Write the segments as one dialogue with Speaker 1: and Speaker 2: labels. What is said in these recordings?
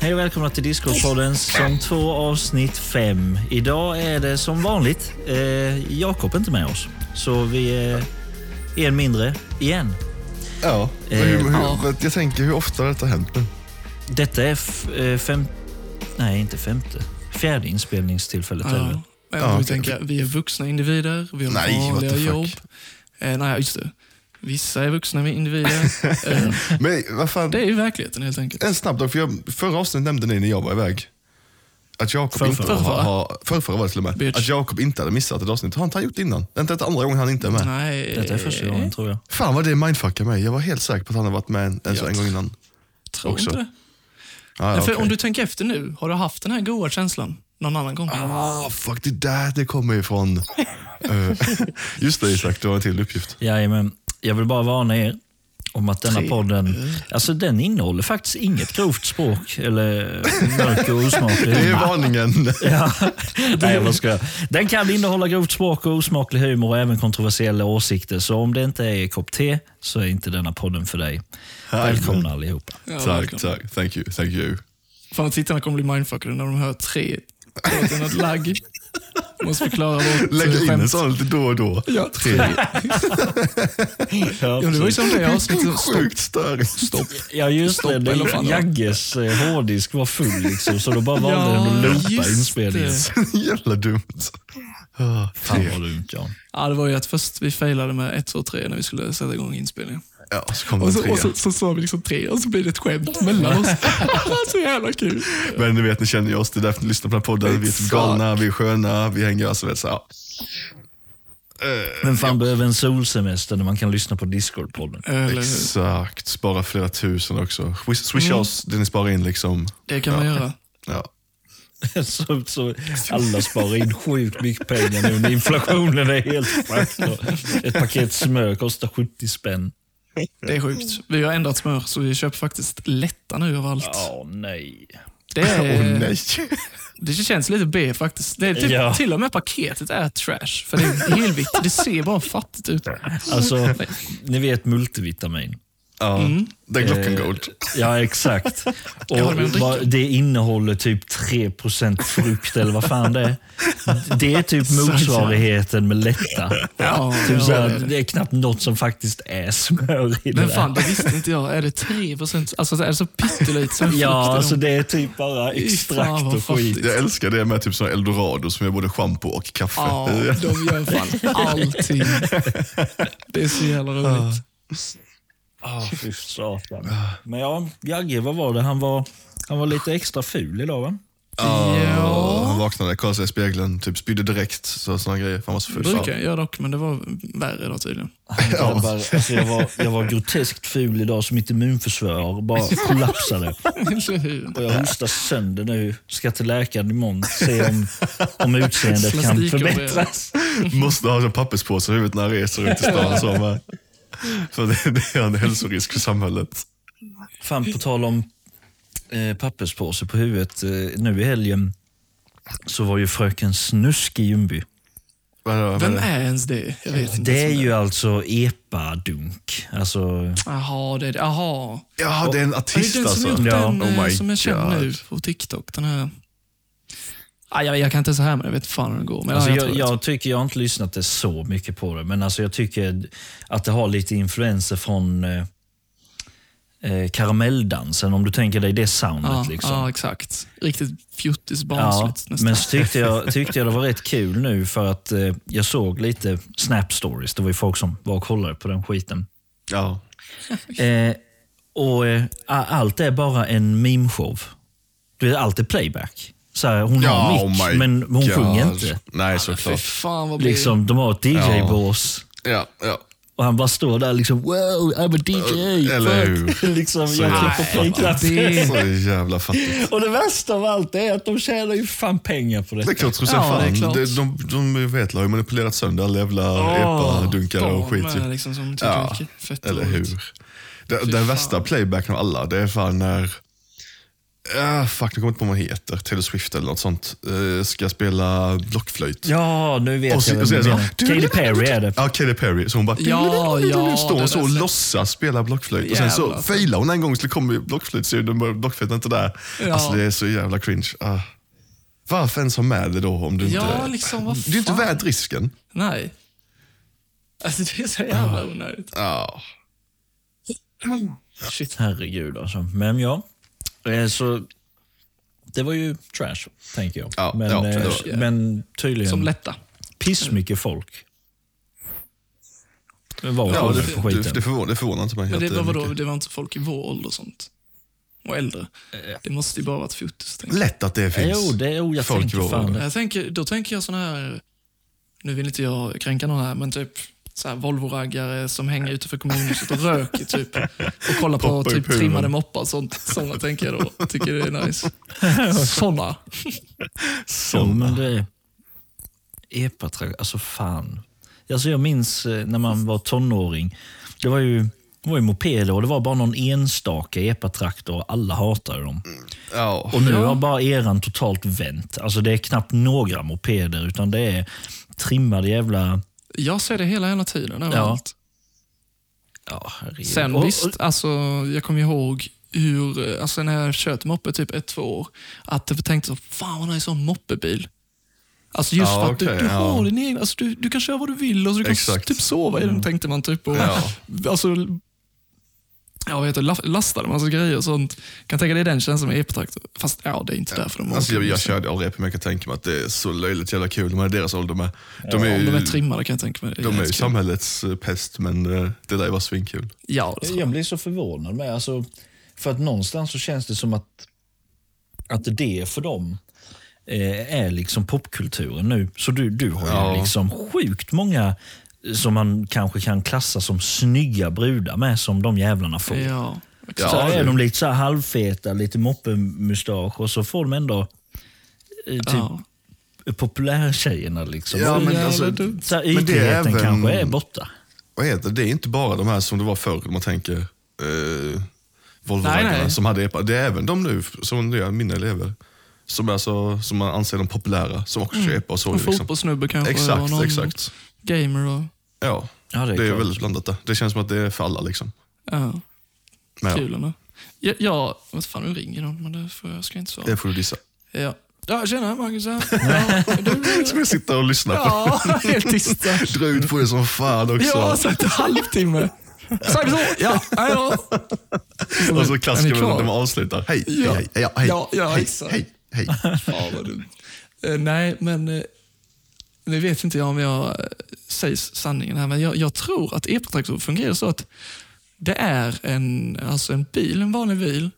Speaker 1: Hej och välkomna till Discordpodden som två avsnitt fem. Idag är det som vanligt eh, Jakob inte med oss. Så vi är en mindre igen.
Speaker 2: Ja. Men
Speaker 3: Eh,
Speaker 2: hur, hur, Jag tänker hur ofta har detta hänt nu?
Speaker 1: Detta är f- eh, fem... Nej, inte femte. Fjärde inspelningstillfället. är det väl?
Speaker 3: Ja. Men
Speaker 2: Ja,
Speaker 3: ja, vi
Speaker 2: okej,
Speaker 3: tänker, vi är vuxna individer, vi har
Speaker 2: Nej, what the
Speaker 3: vanliga
Speaker 2: fuck.
Speaker 3: jobb. Eh, nej, just det. Vissa är vuxna individer. eh,
Speaker 2: Men vad fan,
Speaker 3: det är ju verkligheten helt enkelt.
Speaker 2: en snabb dag. För jag, förra avsnittet nämnde ni när jag var iväg att Jakob
Speaker 1: Förrförra.
Speaker 2: inte har- har... Förrförra var det till och med.
Speaker 3: Bitch.
Speaker 2: Att Jakob inte hade missat ett avsnitt. Har inte han gjort det innan? Det är inte ett andra gången han inte är med.
Speaker 3: Nej,
Speaker 1: Detta är första
Speaker 2: Eh.
Speaker 1: gången tror jag.
Speaker 2: Fan vad det mindfuckar mig. Jag var helt säker på att han hade varit med en, en, så- en gång innan.
Speaker 3: jag tror
Speaker 2: också.
Speaker 3: inte det.
Speaker 2: Ah,
Speaker 3: Nej,
Speaker 2: ja,
Speaker 3: för
Speaker 2: okej.
Speaker 3: Om du tänker efter nu, har du haft den här goa känslan någon annan gång?
Speaker 2: ah, fuck, det är där det kommer ifrån. Eh, Just det Isak, du har en till uppgift.
Speaker 1: Jajamän. Jag vill bara varna er om att denna
Speaker 3: Tre.
Speaker 1: podden, alltså den innehåller faktiskt inget grovt språk eller mörker och osmaklig
Speaker 2: Det är
Speaker 1: humor.
Speaker 2: varningen.
Speaker 1: Ja. Nej, vad ska jag? Den kan innehålla grovt språk och osmaklig humor och även kontroversiella åsikter. Så om det inte är kopp te så är inte denna podden för dig. Välkomna allihopa.
Speaker 3: Ja,
Speaker 2: tack,
Speaker 3: verkligen.
Speaker 2: tack. Thank you, thank you.
Speaker 3: Fan vad tittarna kommer bli mindfuckade när de hör tre. Det är något lagg. Måste förklara vårt
Speaker 2: Lägg
Speaker 3: eh,
Speaker 2: in en
Speaker 3: skämt.
Speaker 2: sån lite då och då.
Speaker 3: Ja,
Speaker 2: Tre.
Speaker 1: Ja,
Speaker 3: Ja, det var ju som det avsnittet som stopp,
Speaker 2: Sjukt störigt.
Speaker 3: stopp.
Speaker 1: just det.
Speaker 3: eller vad fan
Speaker 1: det
Speaker 3: det var.
Speaker 1: Jagges eh, hårddisk var full, liksom, så då bara valde
Speaker 3: Ja,
Speaker 1: den att loopa
Speaker 3: just det.
Speaker 1: inspelningen.
Speaker 2: Jävla dumt. Ah,
Speaker 1: Fan vad dumt, Jan.
Speaker 3: Ja, det var ju att först vi failade med ett, två, tre när vi skulle sätta igång inspelningen.
Speaker 2: Ja, så kom
Speaker 3: Och
Speaker 2: den
Speaker 3: så,
Speaker 2: trea.
Speaker 3: och så, så sa vi liksom tre och så blir det ett skämt mellan oss. så jävla kul.
Speaker 2: Men ni vet, ni känner ju oss. Det är därför ni lyssnar på den här podden. Vi är typ
Speaker 3: Exakt.
Speaker 2: galna, vi är sköna, vi hänger alltså vet så här.
Speaker 1: Men fan behöver en solsemester när man kan lyssna på Discord-podden?
Speaker 3: Eller, Mm.
Speaker 2: Exakt. Spara flera tusen också. Swish- Swisha oss det ni sparar in liksom.
Speaker 3: det kan man göra.
Speaker 2: Ja.
Speaker 1: så, så alla sparar in sjukt mycket pengar nu när inflationen är helt sjukt. Ett paket smör kostar 70 spänn.
Speaker 3: Det är sjukt. Vi har ändrat smör så vi köper faktiskt lätta nu av allt.
Speaker 1: Ja, nej.
Speaker 3: Det,
Speaker 2: Åh
Speaker 3: är,
Speaker 2: nej.
Speaker 3: det känns lite B faktiskt. Det är typ,
Speaker 1: Ja.
Speaker 3: Till och med paketet är trash. För det är helvitt. Det ser bara fattigt ut.
Speaker 1: Alltså, ni vet multivitamin. Eh,
Speaker 2: Ja.
Speaker 3: Mm.
Speaker 2: Det är
Speaker 3: Eh.
Speaker 2: Glockengold.
Speaker 1: Ja, exakt. Och
Speaker 3: Ja, men drick.
Speaker 1: vad- det innehåller typ 3% frukt eller vad fan det är. Det är typ motsvarigheten med lätta.
Speaker 3: Ja,
Speaker 1: Typ så
Speaker 3: ja,
Speaker 1: här,
Speaker 3: det är det.
Speaker 1: det är knappt något som faktiskt är smör i det
Speaker 3: Men
Speaker 1: där.
Speaker 3: fan, det visste inte jag. Är det 3 procent? Alltså är det så pyttelite som
Speaker 1: Ja, alltså det är typ bara
Speaker 3: Fy
Speaker 1: extrakt
Speaker 3: fan, vad
Speaker 1: och skit.
Speaker 3: fattigt.
Speaker 2: Jag älskar det med typ såna eldorado som är både schampo och kaffe.
Speaker 3: Ja,
Speaker 2: Det är-
Speaker 3: de gör fan allting. Det är så jävla roligt.
Speaker 1: Ah, fy satan.
Speaker 3: Ah.
Speaker 1: Men ja, Jagge, vad var det? Han var, han var lite extra ful idag, va?
Speaker 3: Ja,
Speaker 2: Han vaknade, kollade sig i spegeln, typ spydde direkt. Så, såna grejer. Fan vad så ful.
Speaker 3: brukar jag göra dock, men det var värre då tydligen.
Speaker 1: Jag, bara, alltså, jag, var, jag var groteskt ful idag som mitt immunförsvar bara kollapsade.
Speaker 3: Eller hur?
Speaker 1: Och jag hostar sönder nu. Ska till läkaren imorgon se om, om utseendet kan
Speaker 3: Plastik-
Speaker 1: förbättras.
Speaker 2: Måste ha en papperspåse i huvudet när han reser runt i stan. Så, med. så det, det är en hälsorisk för samhället.
Speaker 1: Fan, på tal om eh, papperspåse på huvudet. Eh, nu i helgen så var ju fröken Snusk i Ljungby.
Speaker 2: Vad är det- vad är
Speaker 3: Vem
Speaker 2: det?
Speaker 3: är ens det? Jag vet inte.
Speaker 1: Det är ju alltså epadunk. Alltså,
Speaker 3: Jaha, det är det. Jaha.
Speaker 2: Ja, det är en
Speaker 3: Är det
Speaker 2: artist
Speaker 3: den som
Speaker 2: alltså.
Speaker 3: gjort
Speaker 1: Ja.
Speaker 3: den
Speaker 2: Oh
Speaker 3: eh,
Speaker 2: my
Speaker 3: som jag känner
Speaker 2: God.
Speaker 3: nu på TikTok? Den här... Ah, jag, jag kan inte så här men jag vet fan hur den går. Men
Speaker 1: Alltså
Speaker 3: ja, jag,
Speaker 1: jag,
Speaker 3: tror det.
Speaker 1: jag tycker, jag har inte lyssnat det så mycket på det, men alltså jag tycker att det har lite influenser fråfrån eh, eh, karamelldansen, om du tänker dig det soundet.
Speaker 3: ja,
Speaker 1: liksom.
Speaker 3: ja, exakt. Riktigt
Speaker 1: Ja,
Speaker 3: fjuttis-barnsligt nästan.
Speaker 1: men så tyckte jag, tyckte jag det var rätt kul nu för att eh, jag såg lite snap stories. Det var ju folk som var och kollade på den skiten.
Speaker 2: Ja.
Speaker 1: Eh, och eh, a- Allt är bara en meme-show. Du vet, Allt är playback. Så här, hon har
Speaker 2: ja,
Speaker 1: mick,
Speaker 2: oh my
Speaker 1: men hon
Speaker 2: God.
Speaker 1: sjunger inte.
Speaker 2: Nej,
Speaker 3: Fy
Speaker 2: såklart.
Speaker 3: fan vad blir
Speaker 1: Liksom, de har ett DJ-bås.
Speaker 2: Ja, ja.
Speaker 1: Och han bara står där liksom wow, I'm a DJ.
Speaker 2: Eller
Speaker 1: fuck." liksom,
Speaker 2: Så
Speaker 1: jag
Speaker 2: jävla
Speaker 1: klipper play-knappen.
Speaker 3: det.
Speaker 2: Så jävla fattigt.
Speaker 1: Och det värsta av allt är att de tjänar ju fan pengar på
Speaker 2: Det är
Speaker 1: detta.
Speaker 2: klart, Josefan.
Speaker 3: Ja, det är
Speaker 2: Ja,
Speaker 3: klart.
Speaker 2: de, de, de vet, har ju manipulerat sönder alla jävla epa-dunkar och
Speaker 3: barn
Speaker 2: skit.
Speaker 3: med,
Speaker 2: ju.
Speaker 3: Liksom, som tycker
Speaker 2: Ja,
Speaker 3: det är fett
Speaker 2: eller
Speaker 3: roligt.
Speaker 2: hur. Den, den värsta playbacken av alla, det är fan när Ah, fuck, nu kommer jag inte på vad hon heter. Taylor Swift eller något sånt. Eh, ska spela blockflöjt.
Speaker 1: Ja, nu vet
Speaker 2: Och så-
Speaker 1: jag vem
Speaker 2: och så är
Speaker 1: du
Speaker 2: det så-
Speaker 1: menar. Katy Perry är det.
Speaker 2: Ja, Katy Perry. Så hon bara...
Speaker 3: Ja, ja,
Speaker 2: står
Speaker 3: den
Speaker 2: så
Speaker 3: är
Speaker 2: och
Speaker 3: så-
Speaker 2: låtsas spela blockflöjt. Och sen så
Speaker 3: Jävlar.
Speaker 2: failar hon en gång så kommer blockflöjtsljuden och blockflöjten är inte där.
Speaker 3: Ja.
Speaker 2: Alltså det är så jävla cringe. Ah. Varför ens ha med det då om du
Speaker 3: Ja,
Speaker 2: inte...
Speaker 3: liksom vad
Speaker 2: Det är inte
Speaker 3: fan?
Speaker 2: värt risken.
Speaker 3: Nej. Alltså det är så jävla onödigt.
Speaker 2: Ja.
Speaker 3: Shit.
Speaker 1: Herregud alltså. Men ja, eh, så det var ju trash, tänker jag.
Speaker 2: Ja,
Speaker 1: men,
Speaker 2: ja,
Speaker 1: eh,
Speaker 2: det var-
Speaker 1: men tydligen
Speaker 3: Som lätta.
Speaker 1: piss mycket folk. Det var
Speaker 2: Ja,
Speaker 1: ja,
Speaker 2: det,
Speaker 1: på
Speaker 2: det,
Speaker 1: skiten.
Speaker 2: det, förvånar, det förvånar inte mig.
Speaker 3: Men
Speaker 2: att
Speaker 3: det,
Speaker 2: är
Speaker 3: var vadå,
Speaker 2: mycket.
Speaker 3: det var inte folk i vår ålder och sånt? Och äldre? Det måste ju bara varit fotis. tänker jag.
Speaker 2: Lätt att det finns
Speaker 1: jo, det, jo, jag
Speaker 2: folk i
Speaker 1: tänker
Speaker 2: vår
Speaker 1: fan
Speaker 2: ålder.
Speaker 1: det.
Speaker 3: Jag tänker, då tänker jag sån här, nu vill inte jag kränka någon här, men typ så här Volvo-raggare som hänger utanför kommunhuset och röker typ. Och kollar på
Speaker 2: Poppar i
Speaker 3: typ
Speaker 2: puben.
Speaker 3: trimmade moppar och sånt. Såna tänker jag då. Tycker det är nice. Såna.
Speaker 1: Jo, men det... Epatrag, alltså fan. Alltså jag minns eh, när man var tonåring. Det var ju, det var ju mopeder och det var bara någon enstaka epatraktor och alla hatade dem.
Speaker 2: Ja.
Speaker 1: Och nu har bara eran totalt vänt. Alltså det är knappt några mopeder utan det är trimmade jävla...
Speaker 3: Jag ser det hela jävla tiden överallt.
Speaker 1: Ja, herregud.
Speaker 3: Sen
Speaker 1: Och-
Speaker 3: visst,
Speaker 1: och-
Speaker 3: alltså, jag kommer ihåg hur, eh, alltså, när jag köpte moppe typ ett, två år, att jag tänkte så, fan vad nice att ha en moppebil. Alltså just
Speaker 2: Ja,
Speaker 3: för att du,
Speaker 2: okej,
Speaker 3: du har
Speaker 2: ja.
Speaker 3: din egen, alltså, du, du kan köra vad du vill och så du kan
Speaker 2: Exakt. Mm.
Speaker 3: typ sova i den tänkte man typ. Och,
Speaker 2: Ja.
Speaker 3: Alltså, ja, vad heter det, la- lastade man så grejer och sånt. Kan tänka dig den känslan med epatraktor. Fast ja, det är inte därför de
Speaker 2: Alltså
Speaker 3: åker,
Speaker 2: jag, jag
Speaker 3: liksom.
Speaker 2: körde aldrig rep, men jag kan tänka mig att det är så löjligt jävla kul. De är i deras ålder med. De är
Speaker 3: Om de är
Speaker 2: ju,
Speaker 3: trimmade kan jag tänka mig. det är
Speaker 2: de är ju
Speaker 3: jättekul.
Speaker 2: samhällets eh, pest, men eh, det där var svinkul.
Speaker 3: Ja, det tror jag.
Speaker 1: Jag blir så förvånad med. Alltså, för att någonstans så känns det som att, att det för dem eh, är liksom popkulturen nu. Så du, du har ju
Speaker 2: Ja.
Speaker 1: liksom sjukt många eh, som man kanske kan klassa som snygga brudar med, som de jävlarna får.
Speaker 3: Ja,
Speaker 2: Ja,
Speaker 1: så här är
Speaker 2: det-
Speaker 1: de lite så här halvfeta, lite moppemustasch och så får de ändå eh, typ
Speaker 3: ja.
Speaker 1: populärtjejerna. Liksom.
Speaker 2: Ja,
Speaker 1: Och
Speaker 2: men
Speaker 3: jävla
Speaker 2: alltså,
Speaker 3: dumt.
Speaker 1: så här,
Speaker 2: men det är
Speaker 1: ytligheten
Speaker 2: även-
Speaker 1: kanske är borta.
Speaker 2: vad heter det? Det är inte bara de här som det var förr, om man tänker eh,
Speaker 3: Nej,
Speaker 2: Volvo-raggarna
Speaker 3: nej.
Speaker 2: som hade epa. Det är även de nu, som det är mina elever, som, är så, som man anser de populära, som också kör epa och så.
Speaker 3: En
Speaker 2: Liksom.
Speaker 3: fotbollssnubbe kanske. och
Speaker 2: Exakt,
Speaker 3: någon
Speaker 2: exakt.
Speaker 3: Gamer och...
Speaker 2: Ja,
Speaker 1: Ja, det
Speaker 2: det
Speaker 1: är
Speaker 2: är,
Speaker 1: klart.
Speaker 2: väldigt blandat där. Det känns som att det är för alla. Liksom.
Speaker 3: Ja.
Speaker 2: Men, ja,
Speaker 3: kulorna. Ja, ja, vad fan nu ringer någon, men det får jag, ska jag inte svara.
Speaker 2: det får du dissa.
Speaker 3: Ja. Ja, tjena Marcus här. Ja, du,
Speaker 2: Som jag sitter och lyssnar på.
Speaker 3: ja helt tyst. där.
Speaker 2: Dra ut på det som fan också.
Speaker 3: Ja, så att en halvtimme. Säg så. Ja, hej då.
Speaker 2: och så
Speaker 3: Är ni
Speaker 2: klassiker
Speaker 3: kvar?
Speaker 2: när man avslutar. Hej,
Speaker 3: Ja.
Speaker 2: hej, hej, ja, hej,
Speaker 3: Ja, ja,
Speaker 2: hej,
Speaker 3: exakt.
Speaker 2: hej, hej.
Speaker 3: Fan vad dumt. Eh, nej, men eh, nu vet inte jag om jag eh, säger sanningen här, men jag, jag tror att epatraktor fungerar så att det är en, alltså en bil, en vanlig bil.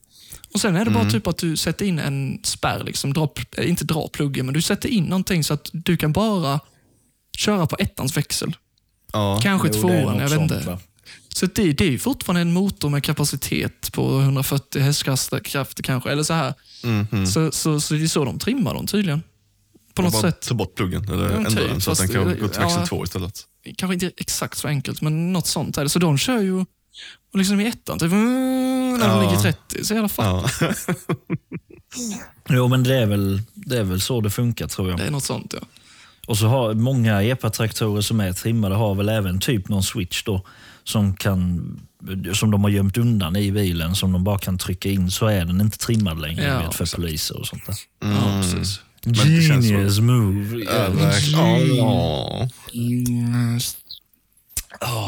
Speaker 3: Och Sen är det
Speaker 1: Mm.
Speaker 3: bara typ att du sätter in en spärr, liksom, dra, eh, inte dra pluggen, men du sätter in någonting så att du kan bara köra på ettans växel.
Speaker 2: Ja.
Speaker 3: Kanske
Speaker 1: Jo, det är
Speaker 3: tvåan,
Speaker 1: något
Speaker 3: jag vet
Speaker 1: sånt,
Speaker 3: inte.
Speaker 1: va?
Speaker 3: Så det, det är ju fortfarande en motor med kapacitet på 140 hästkrafter kanske, eller så här. Så, så, så det är så de trimmar dem tydligen. På något
Speaker 2: Mhm. Bara
Speaker 3: sätt.
Speaker 2: ta bort pluggen eller
Speaker 3: Ja, men
Speaker 2: ändra
Speaker 3: typ,
Speaker 2: den så att den
Speaker 3: fast
Speaker 2: kan
Speaker 3: det-
Speaker 2: gå till växel
Speaker 3: ja.
Speaker 2: två istället.
Speaker 3: Kanske inte exakt så enkelt, men något sånt är det. Så de kör ju och liksom i ettan, typ, mm, när de
Speaker 2: Ja.
Speaker 3: ligger 30. Så jävla fan.
Speaker 2: Ja.
Speaker 1: Jo, men det är, väl, det är väl så det funkar tror jag.
Speaker 3: Det är något sånt, ja.
Speaker 1: Och så har många epatraktorer som är trimmade har väl även typ någon switch då som, kan, som de har gömt undan i bilen som de bara kan trycka in så är den inte trimmad längre
Speaker 3: Ja,
Speaker 1: du vet, för poliser och sånt där.
Speaker 3: ja
Speaker 2: Mm.
Speaker 3: precis.
Speaker 2: det känns
Speaker 1: Genius move.
Speaker 2: Ja, verkligen. Ja.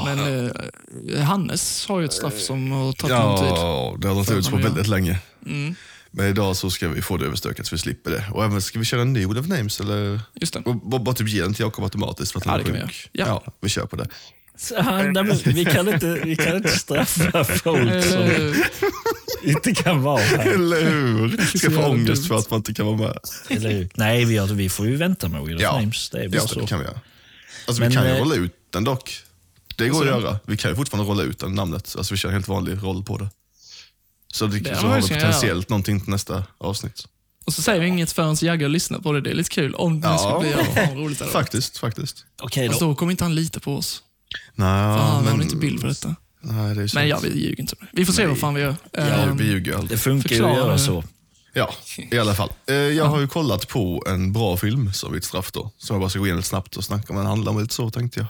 Speaker 3: Men eh, Hannes har ju ett straff som har tagit lång tid.
Speaker 2: Ja, det har dragit ut på
Speaker 3: man gör.
Speaker 2: väldigt länge.
Speaker 3: Mm.
Speaker 2: Men idag så ska vi få det överstökat så vi slipper det. Och även ska vi köra en ny Wheel of Names eller?
Speaker 3: Just det.
Speaker 2: Och Bara, bara typ ge den till Jakob automatiskt för att han
Speaker 3: Ja,
Speaker 2: är
Speaker 3: det kan vi
Speaker 2: sjuk.
Speaker 3: göra. Ja.
Speaker 2: ja, vi kör på det.
Speaker 1: Så han- nej, men vi, kan inte, vi kan inte straffa folk som
Speaker 3: Eh,
Speaker 1: inte kan vara här.
Speaker 2: Eller hur?
Speaker 3: så
Speaker 2: Ska få
Speaker 3: jävla
Speaker 2: ångest
Speaker 3: dumt.
Speaker 2: för att man inte kan vara med.
Speaker 1: Eller, hur? nej, vi, har- vi får ju vänta med Wheel of
Speaker 2: Ja,
Speaker 1: Names. Det är väl
Speaker 2: Ja,
Speaker 1: så.
Speaker 2: det kan vi göra. Alltså
Speaker 1: Men,
Speaker 2: vi kan ju
Speaker 1: eh,
Speaker 2: rolla ut den dock. Det går att göra. Vi kan ju fortfarande rolla ut den namnet. Alltså vi kör en helt vanlig roll på det. Så det,
Speaker 3: Det
Speaker 2: så
Speaker 3: har
Speaker 2: har
Speaker 3: vi
Speaker 2: vi
Speaker 3: ska
Speaker 2: potentiellt någonting till nästa avsnitt.
Speaker 3: och så säger vi inget förrän Jagge lyssnar på det. Det är lite kul. Om det
Speaker 2: Ja.
Speaker 3: ska bli ja, fan, vad roligt. det hade varit.
Speaker 2: Faktiskt, faktiskt.
Speaker 1: Okej
Speaker 3: Fast
Speaker 2: Alltså,
Speaker 1: då.
Speaker 3: då kommer inte han lita på oss.
Speaker 2: Nej,
Speaker 3: Fan, han
Speaker 2: men...
Speaker 3: har inte bild för detta.
Speaker 2: Nej, det är sant.
Speaker 3: Men ja, vi ljuger inte. om det. Vi får se vad fan vi gör.
Speaker 2: Ja,
Speaker 3: Ehm,
Speaker 2: vi ljuger aldrig.
Speaker 1: Det funkar ju att
Speaker 3: Förklara
Speaker 1: göra
Speaker 3: nu.
Speaker 1: så.
Speaker 2: Ja, i alla fall. Eh, Jag har ju kollat på en bra film som ett straff då. Som jag bara ska gå igenom snabbt och snacka om. Den handlar om lite så tänkte jag.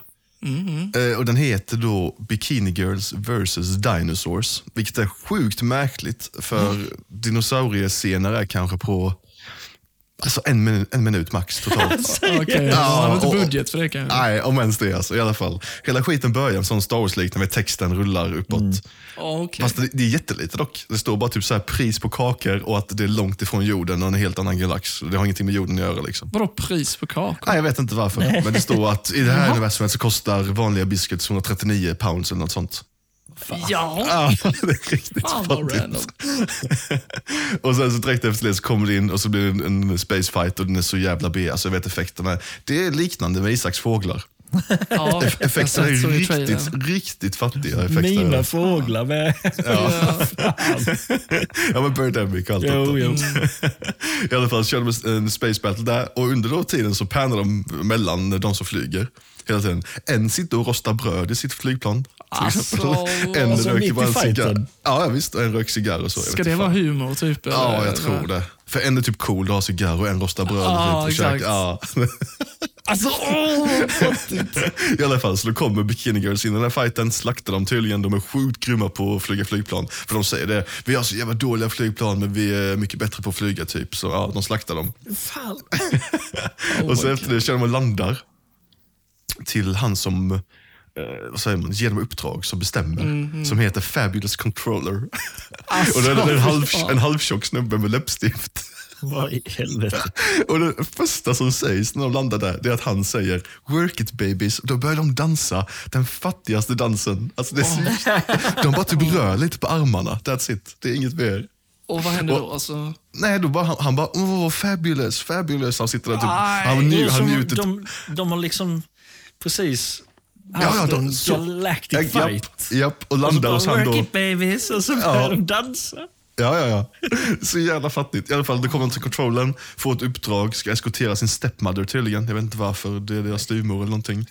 Speaker 3: Ehm, mm,
Speaker 2: Eh, Och Den heter då Bikini Girls vs Dinosaurs. Vilket är sjukt märkligt. För dinosauriescener är kanske på alltså en, min- en minut max totalt.
Speaker 3: Okej,
Speaker 2: Ja,
Speaker 3: han har
Speaker 2: och-
Speaker 3: inte budget för det kan jag.
Speaker 2: Nej, om ens det alltså. I alla fall. Hela skiten börjar som Star Wars-liknande med texten rullar uppåt.
Speaker 3: Okej.
Speaker 2: Fast det, det är jättelite dock. Det står bara typ så här pris på kakor och att det är långt ifrån jorden och en helt annan galax. Det har ingenting med jorden att göra. Liksom.
Speaker 3: Vadå pris på kakor?
Speaker 2: Nej, jag vet inte varför. Men det står att i det här universumet så kostar vanliga biscuits 139 pounds eller något sånt.
Speaker 3: Ja,
Speaker 2: Ja, det är riktigt
Speaker 3: fan vad
Speaker 2: fattigt.
Speaker 3: random.
Speaker 2: Och sen så direkt efter det så kommer det in och så blir det en, en space fight och den är så jävla B. Alltså jag vet effekterna. Det är liknande med Isaks fåglar.
Speaker 3: Ja, Alltså,
Speaker 2: Effekterna är
Speaker 3: jag såg i trailern.
Speaker 2: riktigt, riktigt fattiga. Effekter.
Speaker 1: Mina fåglar med.
Speaker 3: Ja.
Speaker 2: Ja men Birdemic och allt detta.
Speaker 1: jo, jo.
Speaker 2: I alla fall så körde de en space battle där och under då tiden så panar de mellan de som flyger. Hela tiden. En sitter och rostar bröd i sitt flygplan. till
Speaker 3: Alltså,
Speaker 2: exempel. en
Speaker 1: alltså,
Speaker 2: röker
Speaker 1: mitt i
Speaker 2: bara en cigarr.
Speaker 1: fighten.
Speaker 2: Ja ja, visst, och en rök cigarr och så. jag vet
Speaker 3: Ska
Speaker 2: inte
Speaker 3: det vara
Speaker 2: fan.
Speaker 3: humor typ?
Speaker 2: Ja,
Speaker 3: eller?
Speaker 2: jag tror det. För en är typ cool, du har cigarr och en rostar bröd.
Speaker 3: Ja,
Speaker 2: och typ försöker-
Speaker 3: exakt.
Speaker 2: Ja.
Speaker 1: Alltså, åh!
Speaker 2: I alla fall, så då kommer Bikini Girls in i den här fighten, slaktar dem tydligen. De är sjukt grymma på att flyga flygplan. För de säger det, vi har så jävla dåliga flygplan men vi är mycket bättre på att flyga typ. Så ja, de slaktar dem.
Speaker 1: Fan.
Speaker 2: och så
Speaker 3: Oh my
Speaker 2: efter det kör de och landar till han som eh, vad säger man, ger dem uppdrag som bestämmer.
Speaker 3: Mhm.
Speaker 2: Som heter Fabulous Controller. och då är det en,
Speaker 3: Alltså,
Speaker 2: halv, en halvtjock snubbe med läppstift.
Speaker 1: Vad i helvete?
Speaker 2: Och det första som sägs när de landar där, det är att han säger “Work it babies” och då börjar de dansa den fattigaste dansen. Alltså det är så, de bara typ rör lite på armarna, that's it. Det är inget mer.
Speaker 3: Och vad händer då? Alltså,
Speaker 2: Nej, då bara, han, han bara “Åh, fabulous, fabulous”. Han sitter där typ,
Speaker 3: Aj,
Speaker 2: han,
Speaker 1: Det är
Speaker 2: nju, han
Speaker 1: som
Speaker 2: njuter.
Speaker 1: de, de har liksom precis
Speaker 2: ja,
Speaker 1: haft
Speaker 2: de-
Speaker 1: en
Speaker 2: så-
Speaker 1: galactic
Speaker 2: Ja,
Speaker 1: fight.
Speaker 2: Japp, japp, och landar
Speaker 1: och
Speaker 2: hos
Speaker 1: så
Speaker 2: han
Speaker 1: bara,
Speaker 2: då.
Speaker 1: work it babies, och så börjar de dansa.
Speaker 2: Ja, ja, ja. Så jävla fattigt. I alla fall, då kommer de till kontrollen, får ett uppdrag, ska eskortera sin stepmother tydligen. Jag vet inte varför, det är deras styvmor eller någonting.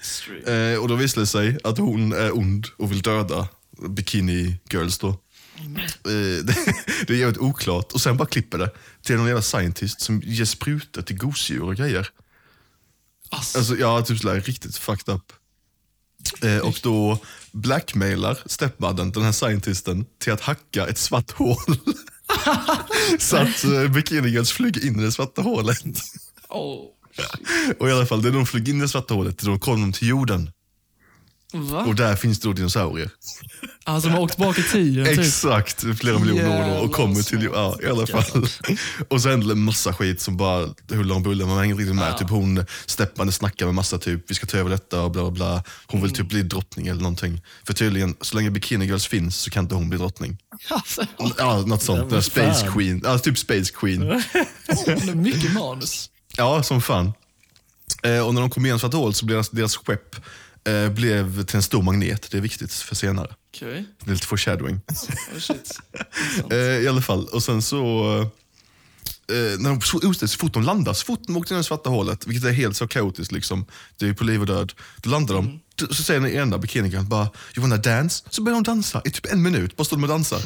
Speaker 2: Eh, och då visar det sig att hon är ond och vill döda Bikini Girls då. Eh, det, det är jävligt oklart. Och sen bara klipper det till någon jävla scientist som ger sprutor till gosedjur och grejer.
Speaker 3: alltså,
Speaker 2: Alltså, ja, typ sådär riktigt fucked up. Eh, och då blackmailar stepmodern, den här scientisten, till att hacka ett svart hål. så att eh, Bikini Girls flyger in i det svarta hålet.
Speaker 3: åh,
Speaker 2: och i alla fall, när de flyger in i det svarta hålet, då kommer de till jorden.
Speaker 3: va?
Speaker 2: Och där finns det då dinosaurier.
Speaker 3: Alltså, de har åkt bak i tiden typ.
Speaker 2: Exakt, flera miljoner år då och
Speaker 3: Jävlar,
Speaker 2: kommer till ja, i alla fall. och så händer det massa skit som bara huller om buller. Man hänger inte riktigt med. Typ hon steppande snackar med massa typ, vi ska ta över detta och bla bla bla. Hon
Speaker 1: Mm.
Speaker 2: vill typ bli drottning eller någonting. För tydligen, så länge Bikini Girls finns så kan inte hon bli drottning.
Speaker 3: Alltså,
Speaker 2: Ja, något sånt.
Speaker 1: men
Speaker 2: Space
Speaker 1: fan.
Speaker 2: Queen. Ja, typ Space Queen.
Speaker 3: det är mycket manus.
Speaker 2: Ja, som fan. Eh, och när de kom igenom Svarta hål så blev deras, deras skepp eh, blev till en stor magnet. Det är viktigt för senare.
Speaker 3: Okej,
Speaker 2: Det är lite foreshadowing.
Speaker 3: oh, shit.
Speaker 2: Eh, I alla fall, och sen så... Eh, när de, så, just det, så fort de landar, så fort de åkte ner i det svarta hålet, vilket är helt så kaotiskt, liksom, det är ju på liv och död. Då landar
Speaker 3: Mm.
Speaker 2: de, Då- så säger den ena bikinigirlen bara “You wanna dance?” Så börjar de dansa i typ en minut, bara står de och dansar.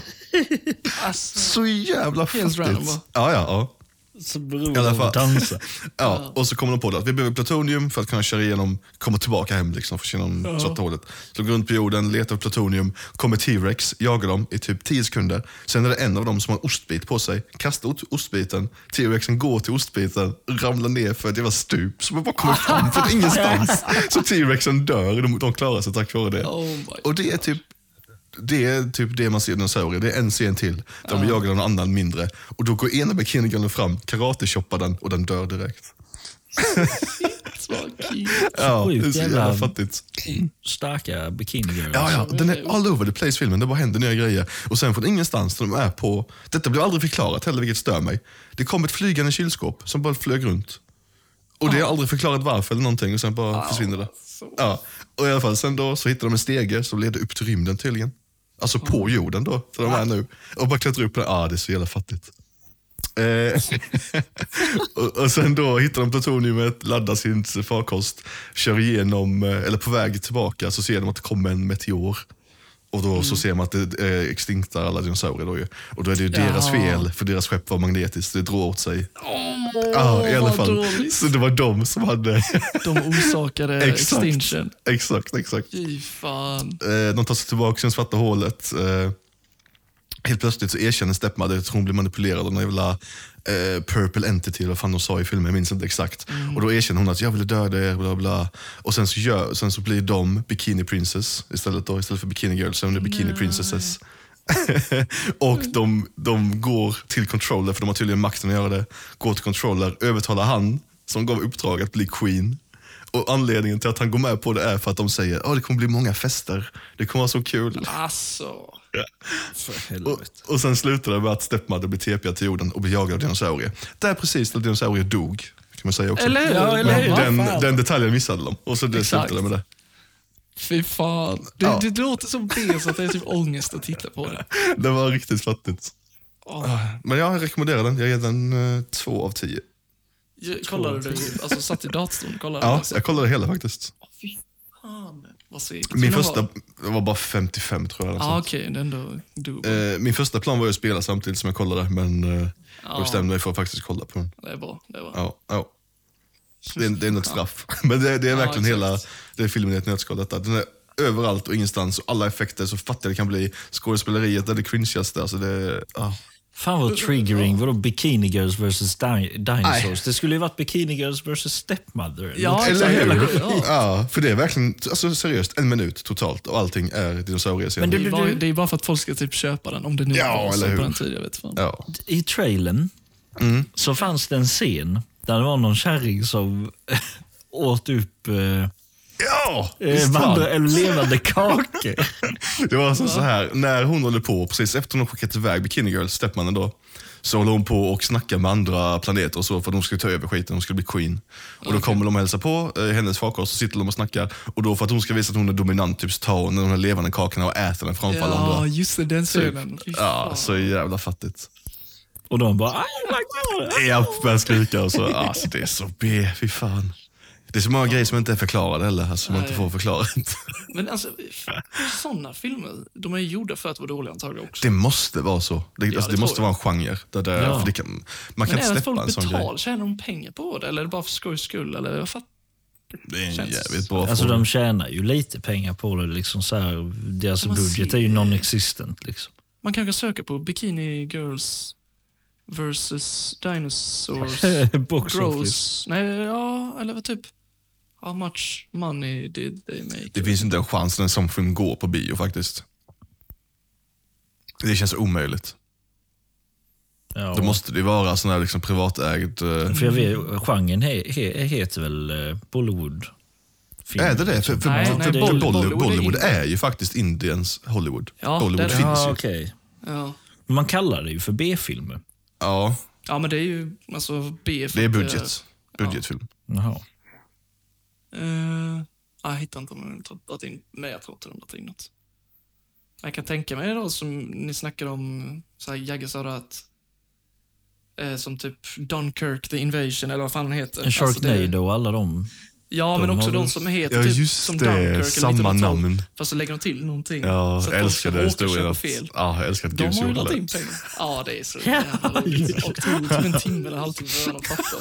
Speaker 3: Alltså,
Speaker 2: Så jävla
Speaker 3: Helt
Speaker 2: fattigt.
Speaker 3: random,
Speaker 2: ja,
Speaker 3: va?
Speaker 2: ja, ja.
Speaker 1: Så
Speaker 2: I alla
Speaker 1: beror de
Speaker 2: fall.
Speaker 1: och dansar.
Speaker 2: Ja, och så kommer de på det att vi behöver plutonium för att kunna köra igenom, komma tillbaka hem liksom, för genom svarta hålet. Så de går runt på jorden, letar efter plutonium, kommer T-Rex, jagar dem i typ 10 sekunder. Sen är det en av dem som har en ostbit på sig, kastar ot- ostbiten, T-Rexen går till ostbiten, ramlar ner för ett jävla stup som bara kommer fram från ingenstans. Så T-Rexen dör, de, de klarar sig tack vare det.
Speaker 3: Oh my
Speaker 2: och det är typ det är typ det man ser i dinosaurier. Det är en scen till. De jagar någon annan mindre. Och Då går ena bikinigirlen fram, karate-choppar den och den dör direkt.
Speaker 3: vad kul.
Speaker 2: Ja, det
Speaker 1: Sjukt
Speaker 2: är så jävla
Speaker 1: jävla-
Speaker 2: fattigt.
Speaker 1: Starka bikini girls.
Speaker 2: Ja, ja, den är all over the place filmen. Det bara händer nya grejer. Och sen från ingenstans när de är på... Detta blev aldrig förklarat heller, vilket stör mig. Det kom ett flygande kylskåp som bara flög runt. Och
Speaker 1: Ah.
Speaker 2: det är aldrig förklarat varför eller någonting och sen bara försvinner det. Ja. Och i alla fall, sen då så hittar de en stege som leder upp till rymden tydligen. Alltså
Speaker 1: Ah.
Speaker 2: på jorden då, där de är nu. Och bara klättrar upp på den. Ah, det är så jävla fattigt. Eh, och, och sen då hittar de plutoniumet, laddar sin farkost, kör igenom, eh, eller på väg tillbaka så ser de att det kommer en meteor. Och då
Speaker 3: Mm.
Speaker 2: så ser man att det är extinkta alla dinosaurier. Då ju. Och då är det ju deras
Speaker 3: Ja.
Speaker 2: fel, för deras skepp var magnetiskt. Det drog åt sig. ja, I alla
Speaker 3: vad
Speaker 2: fall.
Speaker 3: dåligt.
Speaker 2: Så det var de som hade...
Speaker 3: De orsakade
Speaker 2: Exakt.
Speaker 3: extinction.
Speaker 2: exakt, exakt.
Speaker 3: Fy fan.
Speaker 2: Eh, de tar sig tillbaka till det svarta hålet. Eh, helt plötsligt så erkänner Stepmother att hon blir manipulerad av någon jävla eh, purple entity, eller vad fan de sa i filmen, jag minns inte exakt. Och då erkänner hon att jag ville döda er, bla bla. Och sen så, gör, sen så blir de bikini princess istället då, istället för bikini girls, så är de bikini princesses. och de, de går till controller, för de har tydligen makten att göra det. Går till controller, övertalar han som gav uppdrag att bli queen. Och anledningen till att han går med på det är för att de säger att det kommer bli många fester. Det kommer vara så kul.
Speaker 3: Alltså.
Speaker 1: För
Speaker 2: Och,
Speaker 1: helvete.
Speaker 2: och sen slutar det med att Stepmother blir tepiga till jorden och blir jagad av dinosaurier. Där precis när dinosaurier dog, kan man säga också.
Speaker 3: Eller hur?
Speaker 1: Ja, eller hur?
Speaker 3: Va?
Speaker 2: den,
Speaker 1: fan.
Speaker 2: den detaljen missade de. Och så det
Speaker 3: Exakt.
Speaker 2: slutade med det.
Speaker 3: Fy fan. Det,
Speaker 2: Ja.
Speaker 3: det låter som det, så att det är typ ångest att titta på det.
Speaker 2: Det var riktigt fattigt. Ah,
Speaker 3: Åh.
Speaker 2: Men jag rekommenderar den. Jag ger den eh, två av tio.
Speaker 3: Jag- Kollade du? Alltså satt i datorn och kollade?
Speaker 2: Ja,
Speaker 3: Alltså,
Speaker 2: jag kollade hela faktiskt.
Speaker 3: Fy fan. Vad segt.
Speaker 2: Min
Speaker 3: Men det
Speaker 2: första
Speaker 3: var-
Speaker 2: det var bara 55 tror jag. eller
Speaker 3: Ja,
Speaker 2: sånt.
Speaker 3: okej. Det är ändå du.
Speaker 2: Eh, Min första plan var ju att spela samtidigt som jag kollade, men eh, jag
Speaker 3: Ja.
Speaker 2: bestämde mig för att faktiskt kolla på den.
Speaker 3: Det är bra. Det är bra.
Speaker 2: Ja, ja. Det är, det är något straff. Men det, det är verkligen
Speaker 3: exakt.
Speaker 2: hela det är filmen i ett nötskal. Detta. Den är överallt och ingenstans. Och alla effekter, så fattiga det kan bli. Skådespeleriet är det cringigaste. Alltså det, ja.
Speaker 1: Fan vad triggering. Vadå Bikini Girls vs Di- Dinosaurs? Det skulle ju varit Bikini Girls vs Stepmother.
Speaker 3: Ja,
Speaker 2: Eller
Speaker 3: exakt.
Speaker 2: hur?
Speaker 3: Ja.
Speaker 2: Ja, för det är verkligen, alltså seriöst, en minut totalt och allting är dinosauriescener.
Speaker 1: Men
Speaker 3: Det
Speaker 1: du-
Speaker 3: är, bara, det är bara för att folk ska typ köpa den, om det nu
Speaker 2: Ja,
Speaker 3: var så
Speaker 2: eller
Speaker 3: på
Speaker 2: hur?
Speaker 3: den tiden. Jag vet fan.
Speaker 2: Ja.
Speaker 1: I trailern
Speaker 2: Mm.
Speaker 1: så fanns det en scen där det var någon kärring som åt upp eh,
Speaker 2: Ja!
Speaker 1: eh,
Speaker 2: visst fan.
Speaker 1: vandra, eller levande kakor.
Speaker 2: Det var alltså så här, när hon håller på, precis efter hon har skickat iväg Bikini Girl, Stepmannen då, så håller hon på och snackar med andra planeter och så för att de skulle ta över skiten, hon skulle bli queen. Och då kommer de och hälsar på eh, hennes farkost, så sitter de och snackar. Och då för att hon ska visa att hon är dominant, typ så tar hon de här levande kakorna och äter den framför alla
Speaker 3: Ja,
Speaker 2: andra. Typ.
Speaker 3: just det. Den scenen. Fy
Speaker 2: Ja,
Speaker 3: fan.
Speaker 2: så jävla fattigt.
Speaker 1: Och de bara, oh my god.
Speaker 2: Ja, börjar skrika och så. Alltså det är så B, fy fan. Det är så många grejer som inte är förklarade heller, alltså, som man inte
Speaker 3: Nej.
Speaker 2: får förklarat.
Speaker 3: Men alltså, sådana filmer, de är ju gjorda för att vara dåliga antagligen också.
Speaker 2: Det måste vara så. Det, alltså,
Speaker 3: det
Speaker 2: det måste
Speaker 3: tror
Speaker 2: vara en genre. Där det,
Speaker 1: Ja.
Speaker 2: för det kan, man kan
Speaker 3: Men är det
Speaker 2: inte
Speaker 3: att
Speaker 2: släppa en
Speaker 3: folk
Speaker 2: sån grej.
Speaker 3: betalar? Tjänar de pengar på det? Eller är det bara för skojs skull? Eller jag fattar.
Speaker 2: Det är en
Speaker 3: Känns-
Speaker 2: jävligt bra
Speaker 1: Alltså
Speaker 2: fråga.
Speaker 1: de tjänar ju lite pengar på det. Liksom så här, deras
Speaker 3: Man
Speaker 1: budget
Speaker 3: ser-
Speaker 1: är ju non-existent. Liksom.
Speaker 3: Man kanske söker på Bikini Girls versus Dinosaurs
Speaker 1: Box office.
Speaker 3: Gross. Nej, ja, eller vad typ. How much money did they make?
Speaker 2: Det finns inte en chans när en sån film går på bio faktiskt. Det känns omöjligt.
Speaker 1: Ja.
Speaker 2: Då måste det ju vara sån här liksom privatägd... eh,
Speaker 1: För jag vet, genren he, he, heter väl eh, Bollywood? Film.
Speaker 2: Är det det? För, för,
Speaker 3: Nej,
Speaker 2: för,
Speaker 3: nej,
Speaker 2: för
Speaker 3: det-
Speaker 2: Bollywood,
Speaker 3: Bollywood är
Speaker 2: Bollywood,
Speaker 3: inte-
Speaker 2: är ju faktiskt Indiens Hollywood.
Speaker 3: Ja,
Speaker 2: Bollywood
Speaker 3: det är det.
Speaker 2: finns
Speaker 1: Ja,
Speaker 2: ju.
Speaker 1: okej.
Speaker 3: Ja.
Speaker 1: Men Man kallar det ju för B-filmer.
Speaker 2: Ja,
Speaker 3: ja, men det är ju alltså B. för
Speaker 2: det är
Speaker 3: att,
Speaker 2: budget. Budgetfilm.
Speaker 3: Alltså,
Speaker 1: Jaha.
Speaker 3: eh, jag hittar inte om de har dragit in, men jag tror inte de har dragit in något. Jag kan tänka mig då som ni snackade om, så här, Jagge sa då att eh, som typ Dunkirk, The Invasion eller vad fan den heter. Alltså,
Speaker 1: En Sharknado
Speaker 3: det,
Speaker 1: och alla de.
Speaker 3: ja, men
Speaker 1: De
Speaker 3: också
Speaker 1: har
Speaker 3: de
Speaker 1: väl-
Speaker 3: som heter
Speaker 2: Ja,
Speaker 3: typ
Speaker 2: just
Speaker 3: som
Speaker 2: det.
Speaker 3: Dunkirk. eller
Speaker 2: Samma
Speaker 3: 1912,
Speaker 2: namn.
Speaker 3: Fast så lägger de till någonting.
Speaker 2: Ja,
Speaker 3: så
Speaker 2: jag
Speaker 3: att de
Speaker 2: älskar
Speaker 3: ska
Speaker 2: den
Speaker 3: åka
Speaker 2: historien.
Speaker 3: köpa
Speaker 2: Att,
Speaker 3: fel.
Speaker 2: ja, jag älskar att
Speaker 3: De
Speaker 2: Gus
Speaker 3: har ju
Speaker 2: gjorde
Speaker 3: dragit in
Speaker 2: det.
Speaker 3: pengar. Ja, det är så jävla roligt. Och tog typ en timme eller halvtimme för att fatta.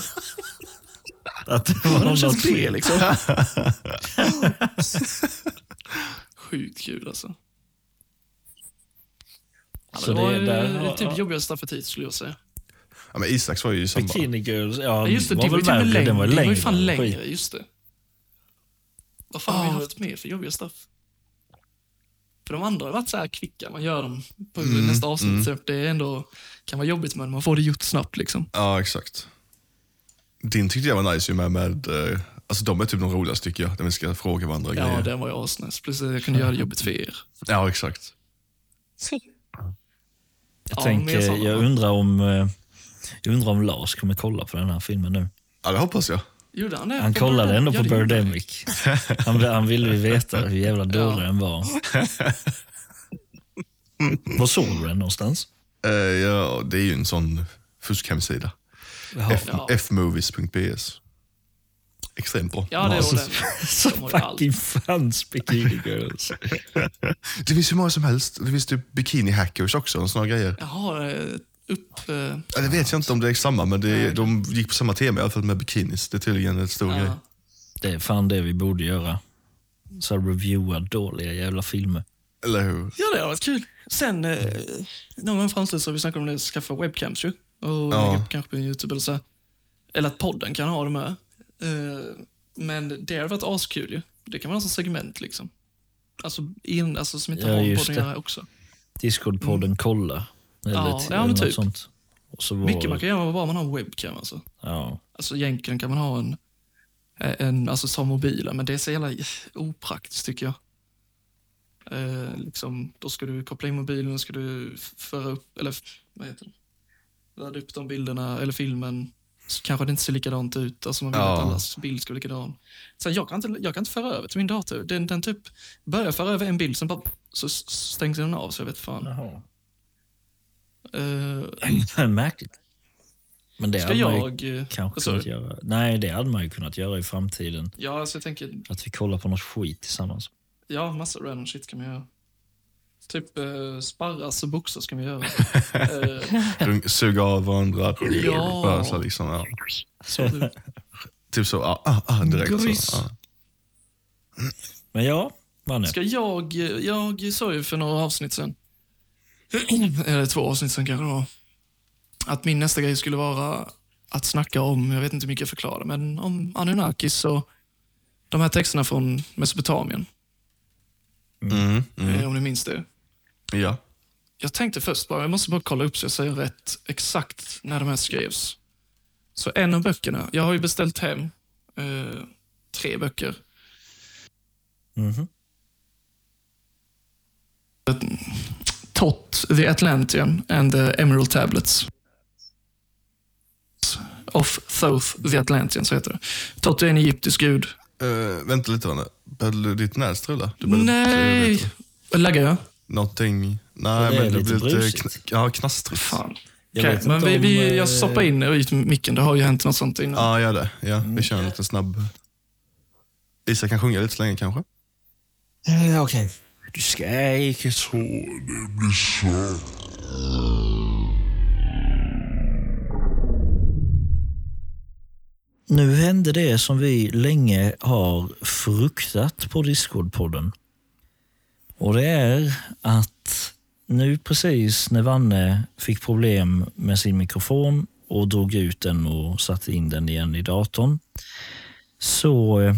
Speaker 1: Att det var
Speaker 3: Men de
Speaker 1: något
Speaker 3: känns B
Speaker 1: fel.
Speaker 3: liksom. Sjukt kul alltså. Ja,
Speaker 1: Så
Speaker 3: det var
Speaker 1: det är
Speaker 3: ju
Speaker 1: där-
Speaker 3: det
Speaker 1: ja.
Speaker 3: typ jobbigaste affetit skulle jag säga.
Speaker 2: Ja, men Isaks var ju i samma.
Speaker 1: Bikini Girls, ja,
Speaker 3: Ja, just det,
Speaker 1: var
Speaker 3: det var ju
Speaker 1: väl
Speaker 3: till och med längre.
Speaker 1: värre. Den var ju
Speaker 3: Det var ju
Speaker 1: längre.
Speaker 3: fan
Speaker 1: Skit. Ah.
Speaker 3: längre, just det. Vad fan har
Speaker 2: Ja.
Speaker 3: vi haft mer för jobbiga straff? För de andra har varit så här kvicka, man gör dem på
Speaker 1: Mm,
Speaker 3: nästa avsnitt. Så det är ändå, kan vara jobbigt men man får det gjort snabbt liksom.
Speaker 2: Ja, exakt. Din tyckte jag var nice ju med, med eh, alltså de är typ de roligaste tycker jag. När vi ska fråga varandra
Speaker 3: Ja,
Speaker 2: grejer.
Speaker 3: den var ju asnice. Plus att jag kunde göra det jobbigt för er.
Speaker 2: Ja, exakt.
Speaker 1: Jag,
Speaker 3: Ja,
Speaker 1: tänker,
Speaker 3: mer sådana.
Speaker 1: jag, undrar om, eh, jag undrar om Lars kommer kolla på den här filmen nu.
Speaker 2: Ja, det hoppas jag.
Speaker 3: Gjorde han det?
Speaker 1: Han
Speaker 3: På
Speaker 1: kollade
Speaker 3: Birdemic?
Speaker 1: ändå
Speaker 3: Ja,
Speaker 1: på
Speaker 3: det gjorde han.
Speaker 1: Birdemic. Han, han ville ju veta hur jävla dålig den var. Var såg du den någonstans?
Speaker 2: Eh, ja, det är ju en sån fuskhemsida. F-
Speaker 1: Ja.
Speaker 3: Ja.
Speaker 2: Fmovies.bs. extremt bra.
Speaker 3: Ja, det
Speaker 2: så-
Speaker 3: gjorde den.
Speaker 1: Så
Speaker 3: De har ju allt.
Speaker 1: fucking fans bikini girls.
Speaker 2: det finns hur många som helst. Det finns typ bikini hackers också. Och såna grejer.
Speaker 3: Jaha, eh, upp... eh,
Speaker 2: Ja, det vet jag inte om det är samma, men det, de gick på samma tema i alla fall med bikinis. Det är tydligen en stor grej.
Speaker 3: Ja.
Speaker 1: Det är fan det vi borde göra. Så reviewa dåliga jävla filmer.
Speaker 2: Eller hur?
Speaker 3: Ja, det har varit kul. Sen, eh, någon gång framställs så har vi snackat om att skaffa webcams ju. Och
Speaker 2: Ja.
Speaker 3: lägga upp kanske på YouTube eller så. Eller att podden kan ha det med. Eh, men det har varit askul ju. Det kan man ha som segment liksom. Alltså, in, alltså som inte
Speaker 1: Ja,
Speaker 3: har med
Speaker 1: just
Speaker 3: podden att
Speaker 1: det.
Speaker 3: göra också.
Speaker 1: Discord-podden Kolla. Eller
Speaker 3: Mm. Ja,
Speaker 1: till-
Speaker 3: ja, men
Speaker 1: något
Speaker 3: typ.
Speaker 1: sånt. Och så var,
Speaker 3: Mycket man kan göra bara man har en webcam alltså.
Speaker 1: Ja.
Speaker 3: Alltså egentligen kan man ha en, en alltså som mobilen, men det är så jävla opraktiskt tycker jag. Eh, liksom, då ska du koppla in mobilen och ska du f- föra upp, eller f- vad heter det? Ladda upp de bilderna, eller filmen. Så kanske det inte ser likadant ut. Alltså man vill
Speaker 2: Ja.
Speaker 3: att allas bild ska vara likadan. Så jag, kan inte, jag kan inte föra över till min dator. Den, den typ börjar föra över en bild, sen bara så s- stängs den av så jag vet fan.
Speaker 1: Jaha.
Speaker 3: Eh,
Speaker 1: Märkligt. Men det
Speaker 3: ska
Speaker 1: hade man ju
Speaker 3: jag... eh,
Speaker 1: kanske
Speaker 3: vad sa du?
Speaker 1: kunnat göra. Nej, det hade man ju kunnat göra i framtiden.
Speaker 3: Ja, alltså jag tänker
Speaker 1: Att vi kollar på något skit tillsammans.
Speaker 3: Ja, massa random shit kan man göra. Typ eh, sparras och boxas kan vi göra. Eh,
Speaker 2: Rung- Suga av varandra.
Speaker 3: Ja.
Speaker 2: Bösa liksom. Ja.
Speaker 1: Så.
Speaker 2: Typ så, ah, ah, ah, direkt.
Speaker 1: Gryss.
Speaker 2: Så, ah.
Speaker 1: Men ja, Manne.
Speaker 3: ska jag... Jag sa ju för några avsnitt sen, eller två avsnitt sen kanske det var, att min nästa grej skulle vara att snacka om, jag vet inte hur mycket jag förklarar, men om Anunnakis och de här texterna från Mesopotamien,
Speaker 2: Mm, mm,
Speaker 3: eh, om ni minns det.
Speaker 2: ja.
Speaker 3: Jag tänkte först bara, jag måste bara kolla upp så jag säger rätt exakt när de här skrevs. Så en av böckerna, jag har ju beställt hem eh, tre böcker.
Speaker 1: Mhm.
Speaker 3: Tot, The Atlantean and the Emerald Tablets. Of Thoth, The Atlantean, så heter det. Tot är en egyptisk gud.
Speaker 2: Eh, vänta lite, Vanne. Behövde du ditt näs strula? Du behövde-
Speaker 3: Nej! Laggar jag?
Speaker 2: Någonting...
Speaker 1: Ja,
Speaker 2: Nej,
Speaker 1: det är
Speaker 2: men det
Speaker 1: lite
Speaker 2: blir lite...
Speaker 1: brusigt.
Speaker 2: Kn- ja, knastrigt.
Speaker 3: Fan.
Speaker 1: Jag
Speaker 3: Okej,
Speaker 1: vet
Speaker 3: men
Speaker 1: inte
Speaker 3: vi,
Speaker 1: om,
Speaker 3: vi,
Speaker 1: eh,
Speaker 3: jag stoppar in och ut med micken. Det har ju hänt något sånt innan.
Speaker 2: Ja, gör det. Ja,
Speaker 3: Mm.
Speaker 2: vi kör en liten snabb... Isak kan sjunga lite så länge kanske.
Speaker 1: Eh, Okej. Du ska eh, icke tro Nu hände det som vi länge har fruktat på Discord-podden. Och det är att nu precis när Vanne fick problem med sin mikrofon och drog ut den och satte in den igen i datorn så eh,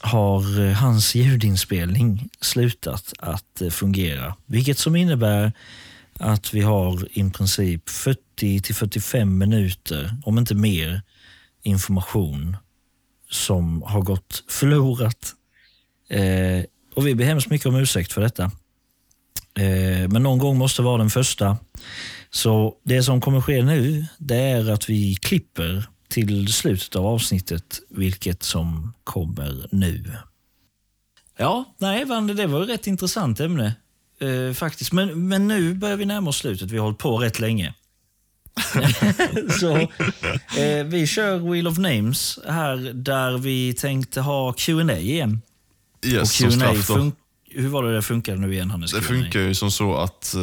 Speaker 1: har eh, hans ljudinspelning slutat att eh, fungera. Vilket som innebär att vi har i princip 40 till 45 minuter, om inte mer, information som har gått förlorat. Eh, och Vi ber hemskt mycket om ursäkt för detta. Eh, men någon gång måste vara den första. Så det som kommer ske nu, det är att vi klipper till slutet av avsnittet, vilket som kommer nu. Ja, nej, Vande, det var ju rätt intressant ämne. Eh, faktiskt. Men, men nu börjar vi närma oss slutet. Vi har hållit på rätt länge. Så, eh, vi kör Wheel of Names här där vi tänkte ha Q&A igen.
Speaker 2: Yes,
Speaker 1: Och
Speaker 2: som
Speaker 1: Q&A
Speaker 2: straff då.
Speaker 1: fun- Hur var det det funkade nu igen, Hannes?
Speaker 2: Det
Speaker 1: Q&A?
Speaker 2: funkar ju som så att eh,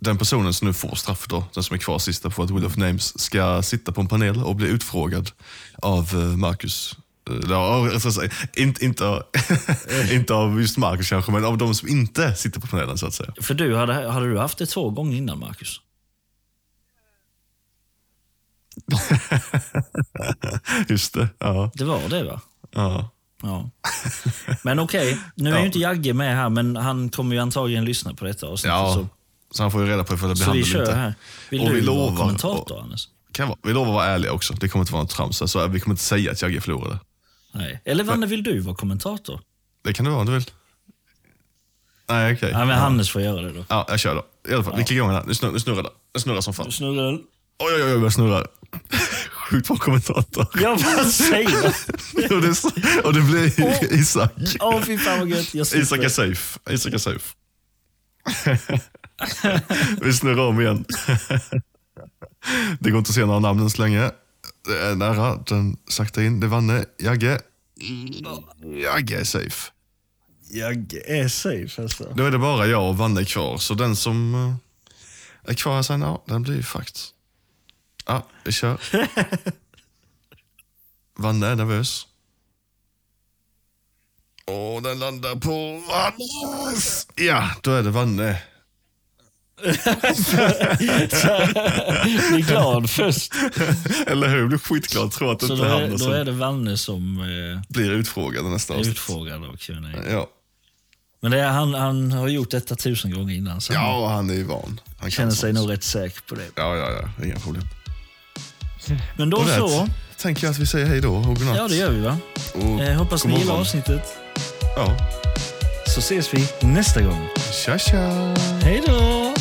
Speaker 2: den personen som nu får straff, då, den som är kvar sista på att Will of Names, ska sitta på en panel och bli utfrågad av eh, Marcus. Eh, eller, Ja, jag ska säga, inte, inte, av- inte av just Marcus kanske, men av de som inte sitter på panelen så att säga.
Speaker 1: För du, hade, hade du haft det två gånger innan, Marcus?
Speaker 2: Just det, ja.
Speaker 1: Det var det, va?
Speaker 2: ja.
Speaker 1: Ja. Men okej, nu är ju inte Jagge med här, men han kommer ju antagligen lyssna på detta avsnittet.
Speaker 2: ja.
Speaker 1: så
Speaker 2: Så han får ju reda på ifall det blir
Speaker 1: så
Speaker 2: han
Speaker 1: vi
Speaker 2: eller
Speaker 1: kör
Speaker 2: inte.
Speaker 1: här. Vill
Speaker 2: Och
Speaker 1: du
Speaker 2: vi
Speaker 1: vara
Speaker 2: lovar-
Speaker 1: kommentator, Anders?
Speaker 2: Kan vara. Vi lovar att vara ärliga också. Det kommer inte vara något trams. Alltså, vi kommer inte säga att jag förlorade.
Speaker 1: Nej. Eller Vanne, vill du vara kommentator?
Speaker 2: Det kan du vara om du vill. Nej, okej.
Speaker 1: Ja, men Hannes får göra det då.
Speaker 2: Ja, jag kör då. I alla fall, vi klickar igång den här. Nu snurrar, nu snurrar det. Den snurrar som fan.
Speaker 1: Snurrar den?
Speaker 2: Oj, oj, oj, jag snurrar. Sjukt bra kommentator.
Speaker 1: Jag bara säger.
Speaker 2: och, det, och det blir Isak.
Speaker 1: Åh, fy fan vad gött. Jag
Speaker 2: Isak
Speaker 1: slipper.
Speaker 2: är safe. Isak är safe. vi snurrar om igen. det går inte att se några namn än så länge. Det är nära. Den sakta in. Det vanne. Jagge. Jagge är safe.
Speaker 1: Jag är safe alltså.
Speaker 2: Då är det bara jag och Vanne kvar, så den som eh, är kvar här sen, ja, den blir ju fakt. Ja, vi kör. Vanne är nervös. Och den landar på Vannes! Ja, då är det Vanne.
Speaker 1: Bli glad först.
Speaker 2: Eller hur? Jag blir skitglad tror att det
Speaker 1: Så då
Speaker 2: inte
Speaker 1: är,
Speaker 2: hamnar
Speaker 1: då
Speaker 2: som
Speaker 1: är det Vanne som eh,
Speaker 2: blir utfrågad i nästa
Speaker 1: är
Speaker 2: avsnitt.
Speaker 1: utfrågad Mm. av Q&A.
Speaker 2: Ja.
Speaker 1: Men det är, han, han har gjort detta tusen gånger innan, så han
Speaker 2: ja, han är ju van. Han kan
Speaker 1: känner sig
Speaker 2: sånt.
Speaker 1: nog rätt säker på det.
Speaker 2: Ja, ja, ja. Inga problem.
Speaker 1: Men då
Speaker 2: Och där
Speaker 1: så.
Speaker 2: tänker jag att vi säger hej då och godnatt.
Speaker 1: Ja, det gör vi va?
Speaker 2: Och
Speaker 1: Eh, hoppas
Speaker 2: god
Speaker 1: ni gillar
Speaker 2: morgon.
Speaker 1: avsnittet.
Speaker 2: Ja.
Speaker 1: Så ses vi nästa gång.
Speaker 2: Tja, tja!
Speaker 1: Hej då!